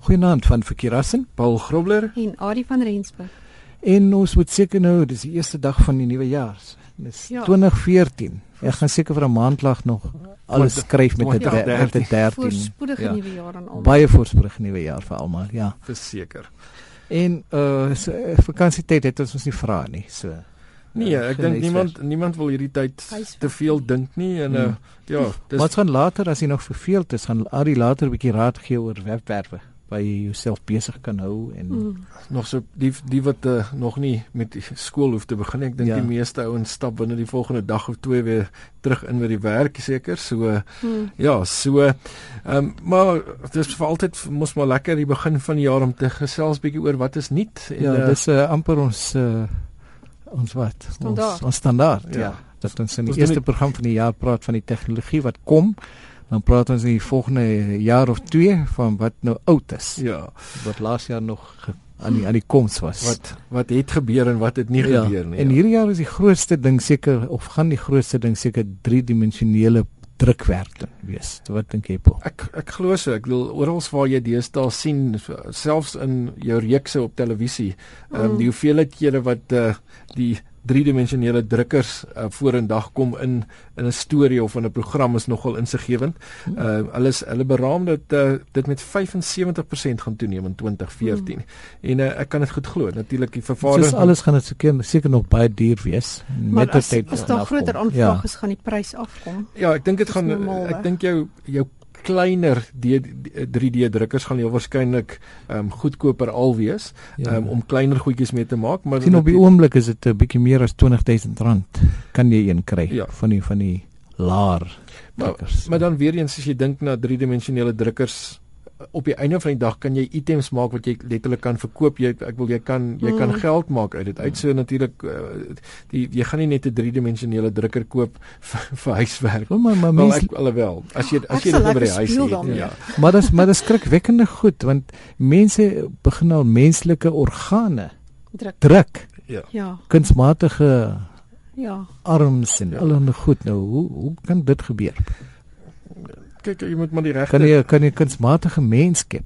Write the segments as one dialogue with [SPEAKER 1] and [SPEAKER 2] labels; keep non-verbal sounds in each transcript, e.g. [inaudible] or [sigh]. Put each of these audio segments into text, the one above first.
[SPEAKER 1] Goeienaand van Verkerassen, Paul Grobler
[SPEAKER 2] en Adie van Rensburg.
[SPEAKER 1] en ons moet seker nou, dis die eerste dag van die nuwe jaar. Dis ja.
[SPEAKER 2] Ja.
[SPEAKER 1] 2014. Ek gaan seker vir 'n maand lank nog alles
[SPEAKER 3] Twintig-
[SPEAKER 1] skryf met 'n
[SPEAKER 3] 2013.
[SPEAKER 1] der- met 'n 13.
[SPEAKER 2] Voorspoedige
[SPEAKER 1] ja.
[SPEAKER 2] ja. nuwe jaar aan almal.
[SPEAKER 1] Baie voorspoedig nuwe jaar vir almal, ja.
[SPEAKER 3] Verseker.
[SPEAKER 1] En uh so, eh, vakansietyd het ons ons nie vra nie, so.
[SPEAKER 3] Nee,
[SPEAKER 1] Eh,
[SPEAKER 3] ek
[SPEAKER 1] geniet
[SPEAKER 3] dink niemand niemand wil hierdie tyd
[SPEAKER 2] Huiswerk.
[SPEAKER 3] te veel dink nie en
[SPEAKER 1] Hmm.
[SPEAKER 3] uh, ja,
[SPEAKER 1] Dis Wat
[SPEAKER 3] dis
[SPEAKER 1] gaan later as jy nog verveeld is, gaan Ari later 'n bietjie raad gee oor webwerwe waar jy jouself besig kan hou en mm.
[SPEAKER 2] Mm.
[SPEAKER 3] nog so die die wat uh, nog nie met die skool hoef te begin. Ek dink
[SPEAKER 1] Ja.
[SPEAKER 3] ja. die meeste ouens stap binne die volgende dag of twee weer terug in met die werk seker. So uh,
[SPEAKER 2] Mm.
[SPEAKER 3] ja, so ehm um, maar dis vir altyd mos maar lekker die begin van die jaar om te gesels bietjie oor wat is nuut en
[SPEAKER 1] ja,
[SPEAKER 3] eh,
[SPEAKER 1] dis uh, amper ons uh, ons wat
[SPEAKER 2] Standaard.
[SPEAKER 1] ons ons standaard, ja.
[SPEAKER 3] Ja.
[SPEAKER 1] ja. Dat ons in die
[SPEAKER 3] Ons
[SPEAKER 1] ons eerste
[SPEAKER 3] doen
[SPEAKER 1] dit... program van die jaar praat van die tegnologie wat kom, dan praat ons in die volgende eh, jaar of 2 van wat nou oud is, ja.
[SPEAKER 3] ja,
[SPEAKER 1] wat laas jaar nog ge- aan die aan die koms was.
[SPEAKER 3] wat wat het gebeur en wat het nie ja, gebeur nie.
[SPEAKER 1] En
[SPEAKER 3] ja.
[SPEAKER 1] hierdie jaar is die grootste ding seker of gaan die grootste ding seker driedimensionele drukwerk wees. Wat dink jy, Paul?
[SPEAKER 3] Ek ek glo so. Ek bedoel oral waar jy deesdae sien selfs in jou reekse op televisie, ehm um,
[SPEAKER 2] Mm.
[SPEAKER 3] die hoeveelheid kere wat eh uh, die driedimensionele drukkers uh, vorendag kom in in 'n storie of in 'n program is nogal insiggewend. Ehm uh, hulle is hulle beraam dat uh, dit met 75% gaan toeneem in 2014. Mm. En uh, ek kan dit goed glo. Natuurlik die
[SPEAKER 1] Soos
[SPEAKER 3] vervaardiging
[SPEAKER 1] alles gaan dit seker seker nog baie duur wees.
[SPEAKER 2] Maar
[SPEAKER 1] Met
[SPEAKER 2] as,
[SPEAKER 1] die tyd
[SPEAKER 2] as
[SPEAKER 1] gaan
[SPEAKER 2] daar
[SPEAKER 1] afkom.
[SPEAKER 2] groter aanvraag ja. is, gaan die prys afkom.
[SPEAKER 3] Ja, ek dink dit
[SPEAKER 2] Dis
[SPEAKER 3] gaan
[SPEAKER 2] normaal,
[SPEAKER 3] ek
[SPEAKER 2] hè?
[SPEAKER 3] dink jou jou kleiner D- D- 3D drukkers gaan heel waarskynlik ehm um, goedkoper al wees
[SPEAKER 1] Ja.
[SPEAKER 3] ja. um, om kleiner goedjies mee te maak, maar
[SPEAKER 1] Sien op die
[SPEAKER 3] natu-
[SPEAKER 1] oomblik is dit 'n bietjie meer as R20000 kan jy een kry ja.
[SPEAKER 3] Ja.
[SPEAKER 1] van die van die laar
[SPEAKER 3] Maar-
[SPEAKER 1] drukkers.
[SPEAKER 3] maar dan weer eens as jy dink na driedimensionele drukkers op die einde van die dag kan jy items maak wat jy letterlik kan verkoop. Jy ek wil jy kan jy kan
[SPEAKER 2] Mm.
[SPEAKER 3] geld maak uit dit. Uit so natuurlik uh, die jy gaan nie net 'n driedimensionele drukker koop [laughs] vir, vir huiswerk.
[SPEAKER 1] Wel, maar maar
[SPEAKER 3] Wel
[SPEAKER 1] mens,
[SPEAKER 3] ek alhoewel as jy as
[SPEAKER 2] Ek
[SPEAKER 3] jy
[SPEAKER 2] sal
[SPEAKER 3] dit nou by die
[SPEAKER 2] lekker
[SPEAKER 3] huis
[SPEAKER 2] speel
[SPEAKER 3] het.
[SPEAKER 2] daarmee.
[SPEAKER 3] Ja.
[SPEAKER 1] maar dis maar dis skrikwekkende goed want mense begin al menslike organe
[SPEAKER 2] Druk.
[SPEAKER 1] druk,
[SPEAKER 3] Ja.
[SPEAKER 2] Ja,
[SPEAKER 1] kunsmatige
[SPEAKER 2] ja.
[SPEAKER 1] arms en ja.
[SPEAKER 3] Ja.
[SPEAKER 1] allerlei goed nou. Hoe hoe kan dit gebeur?
[SPEAKER 3] Kyk, jy moet maar die regte
[SPEAKER 1] Kan jy kan jy kunsmatige mens skep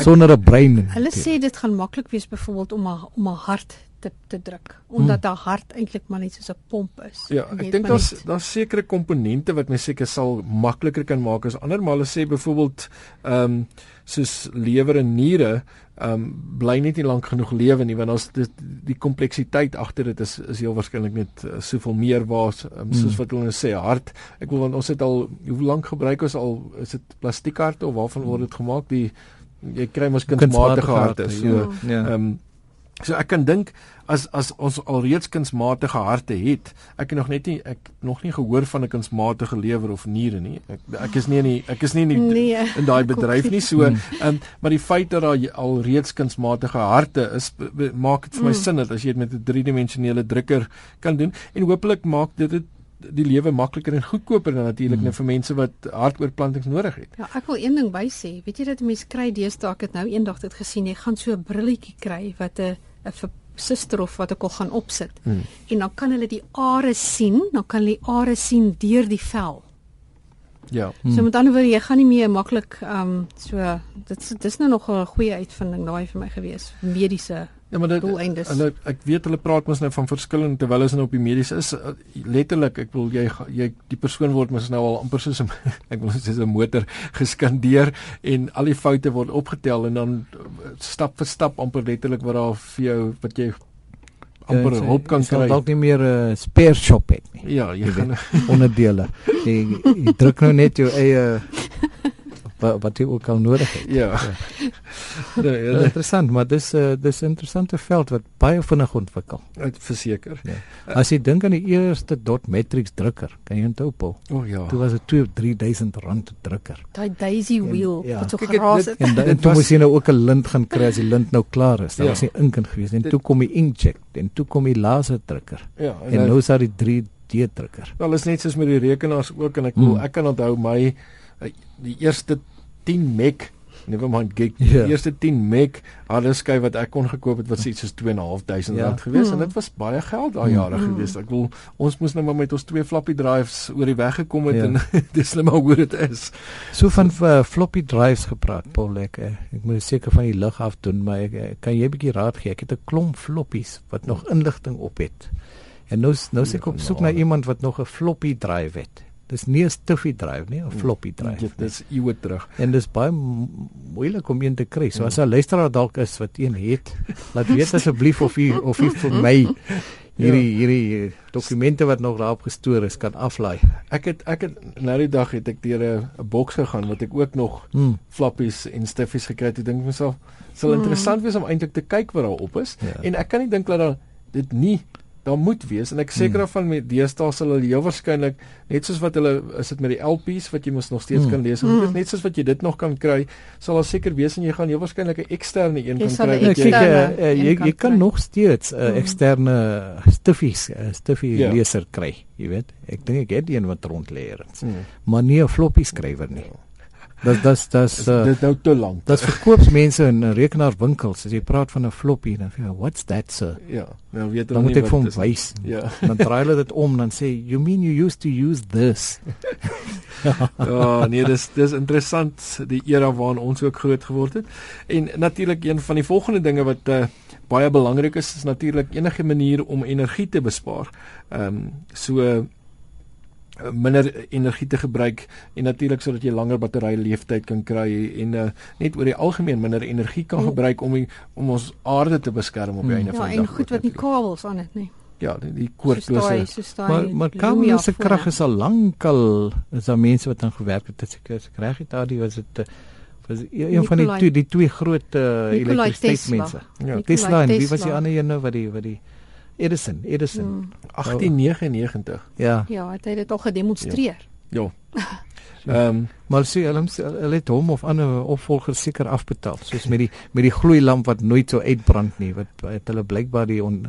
[SPEAKER 1] sonder 'n brein?
[SPEAKER 2] Hulle sê dit gaan maklik wees byvoorbeeld om haar om haar hart te te druk,
[SPEAKER 1] Hmm.
[SPEAKER 2] omdat haar hart eintlik maar net soos 'n pomp is.
[SPEAKER 3] Ja,
[SPEAKER 2] Jy
[SPEAKER 3] ek
[SPEAKER 2] het
[SPEAKER 3] dink
[SPEAKER 2] maar
[SPEAKER 3] daar's
[SPEAKER 2] net-
[SPEAKER 3] daar's sekere komponente wat mens seker sal makliker kan maak as ander maar hulle sê byvoorbeeld ehm um, soos lewer en niere ehm um, bly net nie lank genoeg lewe nie want daar's die, die kompleksiteit agter dit is is heel waarskynlik net uh, soveel meer waar um, soos
[SPEAKER 2] Hmm.
[SPEAKER 1] Mm.
[SPEAKER 3] wat hulle nou sê hart ek wil want ons het al hoe lank gebruik ons al is dit plastiekharte of waarvan word dit gemaak die jy kry mos
[SPEAKER 1] Kunsmatige
[SPEAKER 3] kunsmatige harte
[SPEAKER 1] harte,
[SPEAKER 3] so
[SPEAKER 2] ja.
[SPEAKER 1] ja.
[SPEAKER 3] Ehm um, so ek kan dink as as ons alreeds kunsmatige harte het, ek het nog net nie ek nog nie gehoor van 'n kunsmatige lewer of niere nie. Ek ek is nie in die, ek is nie in die,
[SPEAKER 2] Nee.
[SPEAKER 3] in daai bedryf nie. So
[SPEAKER 1] Hmm.
[SPEAKER 3] ehm um, maar die feit dat daar alreeds kunsmatige harte is be, be, maak dit vir my
[SPEAKER 2] Mm.
[SPEAKER 3] sin dat as jy dit met 'n driedimensionele drukker kan doen en hopelik maak dit dit die lewe makliker en goedkoper dan
[SPEAKER 1] Mm.
[SPEAKER 3] natuurlik mm. nou vir mense wat hartoortplantings nodig het.
[SPEAKER 2] Ja, ek wil een ding by sê. Weet jy dat 'n mens kry deesdae, ek het nou eendag dit gesien, jy gaan so 'n brilletjie kry wat 'n 'n vir suster of wat ek al gaan opsit.
[SPEAKER 3] Hmm.
[SPEAKER 2] En dan kan hulle die are sien, dan kan hulle die are sien deur die vel.
[SPEAKER 3] Ja.
[SPEAKER 2] Hmm. So met ander woorde, jy gaan nie meer maklik ehm um, so dit dis nou nog 'n goeie uitvinding daai vir my gewees, mediese.
[SPEAKER 3] Ja, maar dit
[SPEAKER 2] Doeleindes.
[SPEAKER 3] Hulle ek weet hulle praat mos nou van verskillende terwyl ons nou op die medies is uh, letterlik ek wil jy ga- jy die persoon word mos nou al amper soos 'n [laughs] ek wil soos 'n motor [laughs] geskandeer en al die foute word opgetel en dan uh, stap vir stap amper letterlik wat daar vir jou wat jy amper
[SPEAKER 1] Ja, Sy-
[SPEAKER 3] hulp kan
[SPEAKER 1] sy sal
[SPEAKER 3] kry.
[SPEAKER 1] Dalk nie meer 'n uh, spare shop het nie.
[SPEAKER 3] Ja, jy
[SPEAKER 1] Jy
[SPEAKER 3] gaan [laughs]
[SPEAKER 1] onderdele. Jy, jy druk nou net jou eie wat, wat jy ook al nodig het.
[SPEAKER 3] ja. Nee,
[SPEAKER 1] Dit is
[SPEAKER 3] hulle-
[SPEAKER 1] interessant, maar dis 'n uh, dis 'n interessante veld wat baie vinnig ontwikkel.
[SPEAKER 3] ek verseker.
[SPEAKER 1] As jy dink aan die eerste dot matrix drukker, kan jy onthou Paul,
[SPEAKER 3] O oh, ja.
[SPEAKER 1] toe was dit 2 of 3000 rand drukker.
[SPEAKER 2] Daai daisy wheel
[SPEAKER 1] ja.
[SPEAKER 2] ja. wat so
[SPEAKER 3] Kyk, dit-
[SPEAKER 2] geraas
[SPEAKER 3] dit-
[SPEAKER 2] het.
[SPEAKER 1] En, da, en
[SPEAKER 3] Dit
[SPEAKER 1] toe
[SPEAKER 3] was-
[SPEAKER 1] moes jy nou ook 'n lint gaan kry as die lint nou klaar is. Daar ja.
[SPEAKER 3] Ja.
[SPEAKER 1] was nie ink in gewees nie. En
[SPEAKER 3] Dit-
[SPEAKER 1] toe kom die inkjet en toe kom die laser drukker.
[SPEAKER 3] Ja,
[SPEAKER 1] En, en nou is daar die 3D drukker.
[SPEAKER 3] Wel is net soos met die rekenaars ook en ek bedoel
[SPEAKER 1] Hmm.
[SPEAKER 3] eh, ek kan onthou my uh, die eerste 10 meg Nevermind Gek.
[SPEAKER 1] Ja.
[SPEAKER 3] Die eerste 10 Mac harde skyf wat ek kon gekoop het was iets soos 2.500
[SPEAKER 1] Ja.
[SPEAKER 3] rand gewees en
[SPEAKER 2] Mm.
[SPEAKER 3] dit was baie geld daai
[SPEAKER 1] Mm.
[SPEAKER 3] jare
[SPEAKER 2] Mm.
[SPEAKER 3] gewees. Ek wil ons moes nou maar met ons twee floppy drives oor die weg gekom het
[SPEAKER 1] Ja.
[SPEAKER 3] en [laughs] dis net maar hoe dit is.
[SPEAKER 1] So van uh, floppy drives gepraat, Paul ek. eh, Ek moet seker van die lig af doen, maar ek, eh, kan jy 'n bietjie raad gee? Ek het 'n klomp floppies wat nog inligting op het. En nou s- nou seker op soek na iemand wat nog 'n floppy drive het. Dis nie 'n stiffy drive nie, 'n floppy drive.
[SPEAKER 3] Dit is eeue terug.
[SPEAKER 1] En dis baie mo- moeilik om een te kry. So
[SPEAKER 3] Ja.
[SPEAKER 1] as 'n luisteraar dalk is wat een het, laat weet asseblief of u of u vir my hierdie hierdie eh, dokumente wat nog daarop gestoor is kan aflaai.
[SPEAKER 3] Ek het ek het nou die dag het ek deur 'n 'n boks gegaan wat ek ook nog
[SPEAKER 1] Hmm.
[SPEAKER 3] floppies en stiffies gekry het. Ek dink myself, sal
[SPEAKER 2] Mm.
[SPEAKER 3] interessant wees om eintlik te kyk wat daar op is.
[SPEAKER 1] Ja.
[SPEAKER 3] En ek kan nie dink dat daar dit nie daar moet wees en ek seker
[SPEAKER 1] Mm.
[SPEAKER 3] daarvan met deesdae sal hulle heel waarskynlik net soos wat hulle is dit met die LPs wat jy mos nog steeds
[SPEAKER 1] Mm.
[SPEAKER 3] kan lees en
[SPEAKER 2] Mm.
[SPEAKER 3] dit is net soos wat jy dit nog kan kry sal daar seker wees en jy gaan heel waarskynlik 'n eksterne een
[SPEAKER 2] Jy
[SPEAKER 3] kan
[SPEAKER 2] sal
[SPEAKER 3] kry
[SPEAKER 2] een
[SPEAKER 1] Nou,
[SPEAKER 3] wat
[SPEAKER 1] kyk,
[SPEAKER 3] jy
[SPEAKER 2] eksterne
[SPEAKER 1] eh, eh,
[SPEAKER 2] een
[SPEAKER 1] jy
[SPEAKER 2] kan
[SPEAKER 1] jy kan
[SPEAKER 2] kry.
[SPEAKER 1] nog steeds 'n uh,
[SPEAKER 2] Mhm.
[SPEAKER 1] eksterne stiffies uh, stiffie
[SPEAKER 3] Ja.
[SPEAKER 1] yeah. leser kry, jy weet. Ek dink ek het een wat rond lê ergens,
[SPEAKER 3] Hmm.
[SPEAKER 1] maar nie 'n floppy skrywer nie. Dis dis dis
[SPEAKER 3] Is dit nou te lank?
[SPEAKER 1] dis eh, verkoopsmense in eh, rekenaarwinkels as jy praat van 'n floppy dan sê what's that sir?
[SPEAKER 3] Ja, nou weet hulle
[SPEAKER 1] Dan moet
[SPEAKER 3] nie
[SPEAKER 1] ek vir hom
[SPEAKER 3] wat dit
[SPEAKER 1] wys.
[SPEAKER 3] is. Ja.
[SPEAKER 1] Dan draai hulle dit om dan sê you mean you used to use this.
[SPEAKER 3] Ja, nee, dis dis interessant die era waarin ons ook groot geword het. En natuurlik een van die volgende dinge wat uh, baie belangrik is is natuurlik enige manier om energie te bespaar. Ehm um, so uh, minder energie te gebruik en natuurlik sodat jy langer batteryleeftyd kan kry en uh, net oor die algemeen minder energie kan
[SPEAKER 2] Mm.
[SPEAKER 3] gebruik om die, om ons aarde te beskerm op die
[SPEAKER 1] Mm.
[SPEAKER 3] einde
[SPEAKER 2] Ja,
[SPEAKER 3] van die
[SPEAKER 2] en
[SPEAKER 3] dag.
[SPEAKER 2] goed wat nie kabels aan het nie.
[SPEAKER 3] Ja, die, die
[SPEAKER 2] Soos daai,
[SPEAKER 3] koordlose
[SPEAKER 2] soos daai.
[SPEAKER 1] Maar maar
[SPEAKER 2] Lumia
[SPEAKER 1] Kamera se
[SPEAKER 2] fone.
[SPEAKER 1] krag is al lankal is daar mense wat aan gewerk het. Dit is reg dit daar die was dit eh, was een van die
[SPEAKER 2] Nikolai-
[SPEAKER 1] twee die twee groot uh,
[SPEAKER 2] Nikolai
[SPEAKER 1] elektrisiteitsmense.
[SPEAKER 3] ja,
[SPEAKER 2] Nikolai
[SPEAKER 1] Tesla en wie was die
[SPEAKER 2] Tesla.
[SPEAKER 1] ander een nou wat die wat die Edison, Edison.
[SPEAKER 2] Hmm.
[SPEAKER 3] 1899.
[SPEAKER 1] Ja.
[SPEAKER 2] Ja, het hy dit al gedemonstreer.
[SPEAKER 3] Ja.
[SPEAKER 2] Ja.
[SPEAKER 3] Ehm um,
[SPEAKER 1] Maar sien hulle hulle het hom of ander opvolgers seker afbetaal, soos met die met die gloeilamp wat nooit sou uitbrand nie, wat het hulle blykbaar die on,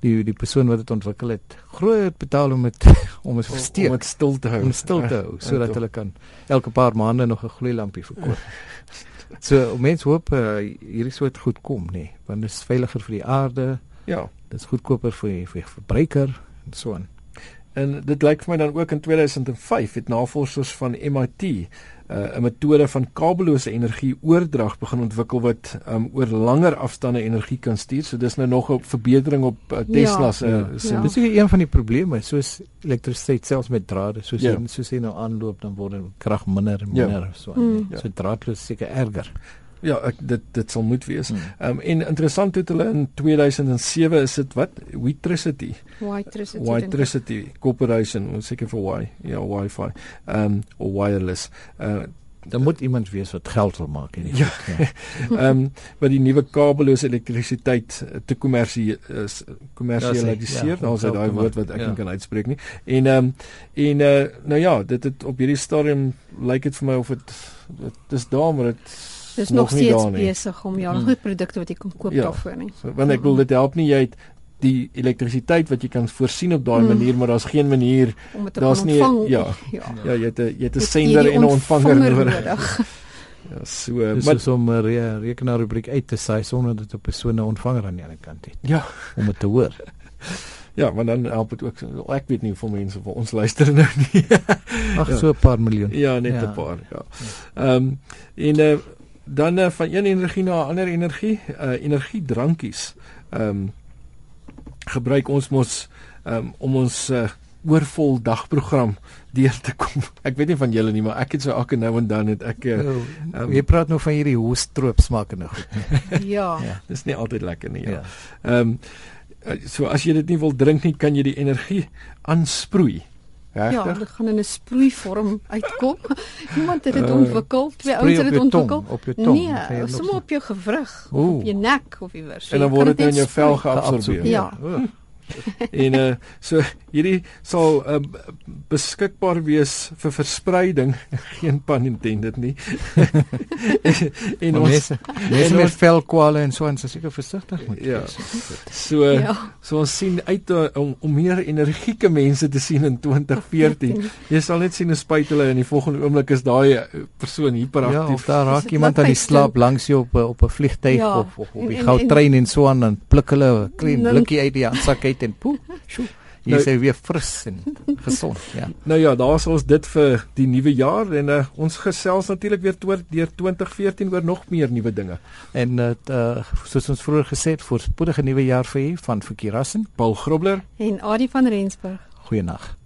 [SPEAKER 1] die die persoon wat dit ontwikkel het groot betaal om dit [laughs] om dit
[SPEAKER 3] om
[SPEAKER 1] versteek
[SPEAKER 3] dit stil te hou.
[SPEAKER 1] om stil te hou sodat
[SPEAKER 3] en-
[SPEAKER 1] hulle kan elke paar maande nog 'n gloeilampie
[SPEAKER 3] [laughs]
[SPEAKER 1] verkoop. So mense hoop uh, hierdie soort goed kom nê, want dit is veiliger vir die aarde,
[SPEAKER 3] Ja.
[SPEAKER 1] dit is goedkoper vir die- vir die verbruiker en so aan.
[SPEAKER 3] En dit lyk vir my dan ook in 2005 het navorsers van MIT eh, 'n metode van kabellose energieoordrag begin ontwikkel wat um, oor langer afstande energie kan stuur. So dis nou nog 'n verbetering op uh, Tesla
[SPEAKER 2] Ja.
[SPEAKER 3] se
[SPEAKER 1] Ja.
[SPEAKER 3] se-
[SPEAKER 2] Ja.
[SPEAKER 1] Dit is seker een van die probleme, soos elektrisiteit selfs met drade, soos
[SPEAKER 3] Ja.
[SPEAKER 1] ja. soos hy nou aanloop dan word die krag minder en
[SPEAKER 3] Ja.
[SPEAKER 1] minder ja. so.
[SPEAKER 2] Hmm.
[SPEAKER 1] Ja. So draadloos is seker erger.
[SPEAKER 3] Ja, ek, dit dit sal moet wees.
[SPEAKER 1] Hmm.
[SPEAKER 3] Um, en interessant het hulle in 2007 is dit wat Wheatricity
[SPEAKER 2] White Trust het dit.
[SPEAKER 3] Wheatricity Corporation, ons seker vir why, ja, Wi-Fi, ehm um, of wireless. Uh,
[SPEAKER 1] Dan moet iemand wees wat geld wil maak en
[SPEAKER 3] Ja.
[SPEAKER 1] ja.
[SPEAKER 3] [laughs] Ehm wat die nuwe kabellose elektrisiteit eh, te kommersie is
[SPEAKER 1] Ja,
[SPEAKER 3] kommersialiseer.
[SPEAKER 1] sê, ja,
[SPEAKER 3] Daar's
[SPEAKER 1] om geld
[SPEAKER 3] daai
[SPEAKER 1] te
[SPEAKER 3] woord
[SPEAKER 1] maak,
[SPEAKER 3] wat ek
[SPEAKER 1] ja.
[SPEAKER 3] nie kan uitspreek nie. En ehm en eh nou ja, dit het op hierdie stadium lyk dit vir my of dit dit is daar maar dit
[SPEAKER 2] Dis nog steeds
[SPEAKER 3] nie. Hmm.
[SPEAKER 2] besig om ja,
[SPEAKER 1] Mm.
[SPEAKER 2] goed produkte wat jy kan koop
[SPEAKER 3] Ja.
[SPEAKER 2] daarvoor nie.
[SPEAKER 3] So, want ek wil dit help nie jy het die elektrisiteit wat jy kan voorsien op daai
[SPEAKER 2] Mm.
[SPEAKER 3] manier, maar daar's geen manier.
[SPEAKER 2] Om dit te
[SPEAKER 3] Daar's
[SPEAKER 2] kan
[SPEAKER 3] nie
[SPEAKER 2] ontvang.
[SPEAKER 3] ja,
[SPEAKER 2] [laughs] ja.
[SPEAKER 3] ja, jy het 'n jy het 'n
[SPEAKER 2] Het
[SPEAKER 3] sender
[SPEAKER 2] jy die
[SPEAKER 3] en 'n ontvanger nodig.
[SPEAKER 2] nodig. [laughs]
[SPEAKER 3] Ja, so
[SPEAKER 1] Dis
[SPEAKER 3] maar
[SPEAKER 1] soos om 'n re rekenaarrubriek uit te saai sonder dat 'n persoon 'n ontvanger aan die ander kant het
[SPEAKER 3] ja,
[SPEAKER 1] om dit te hoor.
[SPEAKER 3] ja, maar dan help dit ook. so- Ek weet nie hoeveel mense vir ons luister nou nie. [laughs]
[SPEAKER 1] Ag
[SPEAKER 3] Ja.
[SPEAKER 1] ja. so 'n paar miljoen.
[SPEAKER 3] Ja, net 'n
[SPEAKER 1] Ja.
[SPEAKER 3] paar, ja. Ehm en eh dan eh, van een energie na 'n ander energie, eh energiedrankies. Ehm gebruik ons mos ehm om ons eh oorvol dagprogram deur te kom. [laughs] Ek weet nie van julle nie, maar ek het so elke nou en dan het ek eh,
[SPEAKER 1] Nou,
[SPEAKER 3] ehm,
[SPEAKER 1] jy praat nou van hierdie hoestroop smakende goed.
[SPEAKER 2] Ja.
[SPEAKER 1] Ja.
[SPEAKER 3] dis nie altyd lekker nie. Ja.
[SPEAKER 1] Ja.
[SPEAKER 3] Ehm ja. so as jy dit nie wil drink nie, kan jy die energie aansproei.
[SPEAKER 2] Ja,
[SPEAKER 3] Regtig?
[SPEAKER 2] dit gaan in 'n sproeivorm uitkom. [laughs] Iemand het dit
[SPEAKER 3] Eh,
[SPEAKER 2] ontwikkel, twee
[SPEAKER 1] Spreek
[SPEAKER 2] ouens Ja, het
[SPEAKER 1] op
[SPEAKER 2] dit
[SPEAKER 1] jou tong,
[SPEAKER 2] ontwikkel.
[SPEAKER 1] op jou tong. Dan gaan jy
[SPEAKER 2] Nee,
[SPEAKER 1] nog
[SPEAKER 2] sommer op jou gewrig,
[SPEAKER 1] Oeh.
[SPEAKER 2] op jou nek of iewers.
[SPEAKER 3] en dan
[SPEAKER 2] Jy
[SPEAKER 3] word
[SPEAKER 2] kan
[SPEAKER 3] dit nou in jou
[SPEAKER 2] net
[SPEAKER 3] vel
[SPEAKER 2] sproei.
[SPEAKER 3] geabsorbeer.
[SPEAKER 2] Ja.
[SPEAKER 1] O,
[SPEAKER 3] en uh so hierdie sal uh, beskikbaar wees vir verspreiding, [laughs] geen pun intended nie. [laughs] en
[SPEAKER 1] En
[SPEAKER 3] ons
[SPEAKER 1] mense, mense
[SPEAKER 3] en
[SPEAKER 1] met
[SPEAKER 3] ons-
[SPEAKER 1] velkwale en so en so seker versigtig moet
[SPEAKER 3] Ja.
[SPEAKER 1] wees.
[SPEAKER 3] so ja.
[SPEAKER 2] Ja.
[SPEAKER 3] so ons sien uit uh, om om meer energieke mense te sien in 2014. Jy sal net sien hoe spyt hulle en die volgende oomblik is daai eh, persoon
[SPEAKER 1] Ja, of
[SPEAKER 3] hiperaktief.
[SPEAKER 1] daar
[SPEAKER 2] Is
[SPEAKER 1] raak
[SPEAKER 2] dit
[SPEAKER 1] iemand
[SPEAKER 2] wat
[SPEAKER 1] aan die
[SPEAKER 2] hy
[SPEAKER 1] slaap langs jou op 'n- op 'n vliegtyg
[SPEAKER 2] Ja,
[SPEAKER 1] of of op
[SPEAKER 2] en-
[SPEAKER 1] die
[SPEAKER 2] en-
[SPEAKER 1] goudtrein en so aan dan pluk hulle 'n klein
[SPEAKER 2] Dan-
[SPEAKER 1] blikkie uit die handsak uit en poe. Sjoe. Jy
[SPEAKER 3] Nou-
[SPEAKER 1] sê weer fris en gesond, ja.
[SPEAKER 3] Nou ja, daar's ons dit vir die nuwe jaar en uh, ons gesels natuurlik weer toor deur 2014 oor nog meer nuwe dinge.
[SPEAKER 1] En dit uh, soos ons vroeër gesê het, voorspoedige nuwe jaar vir u van Verkerassen.
[SPEAKER 3] Paul Grobler
[SPEAKER 2] En Adi van Rensburg.
[SPEAKER 1] Goeienaand.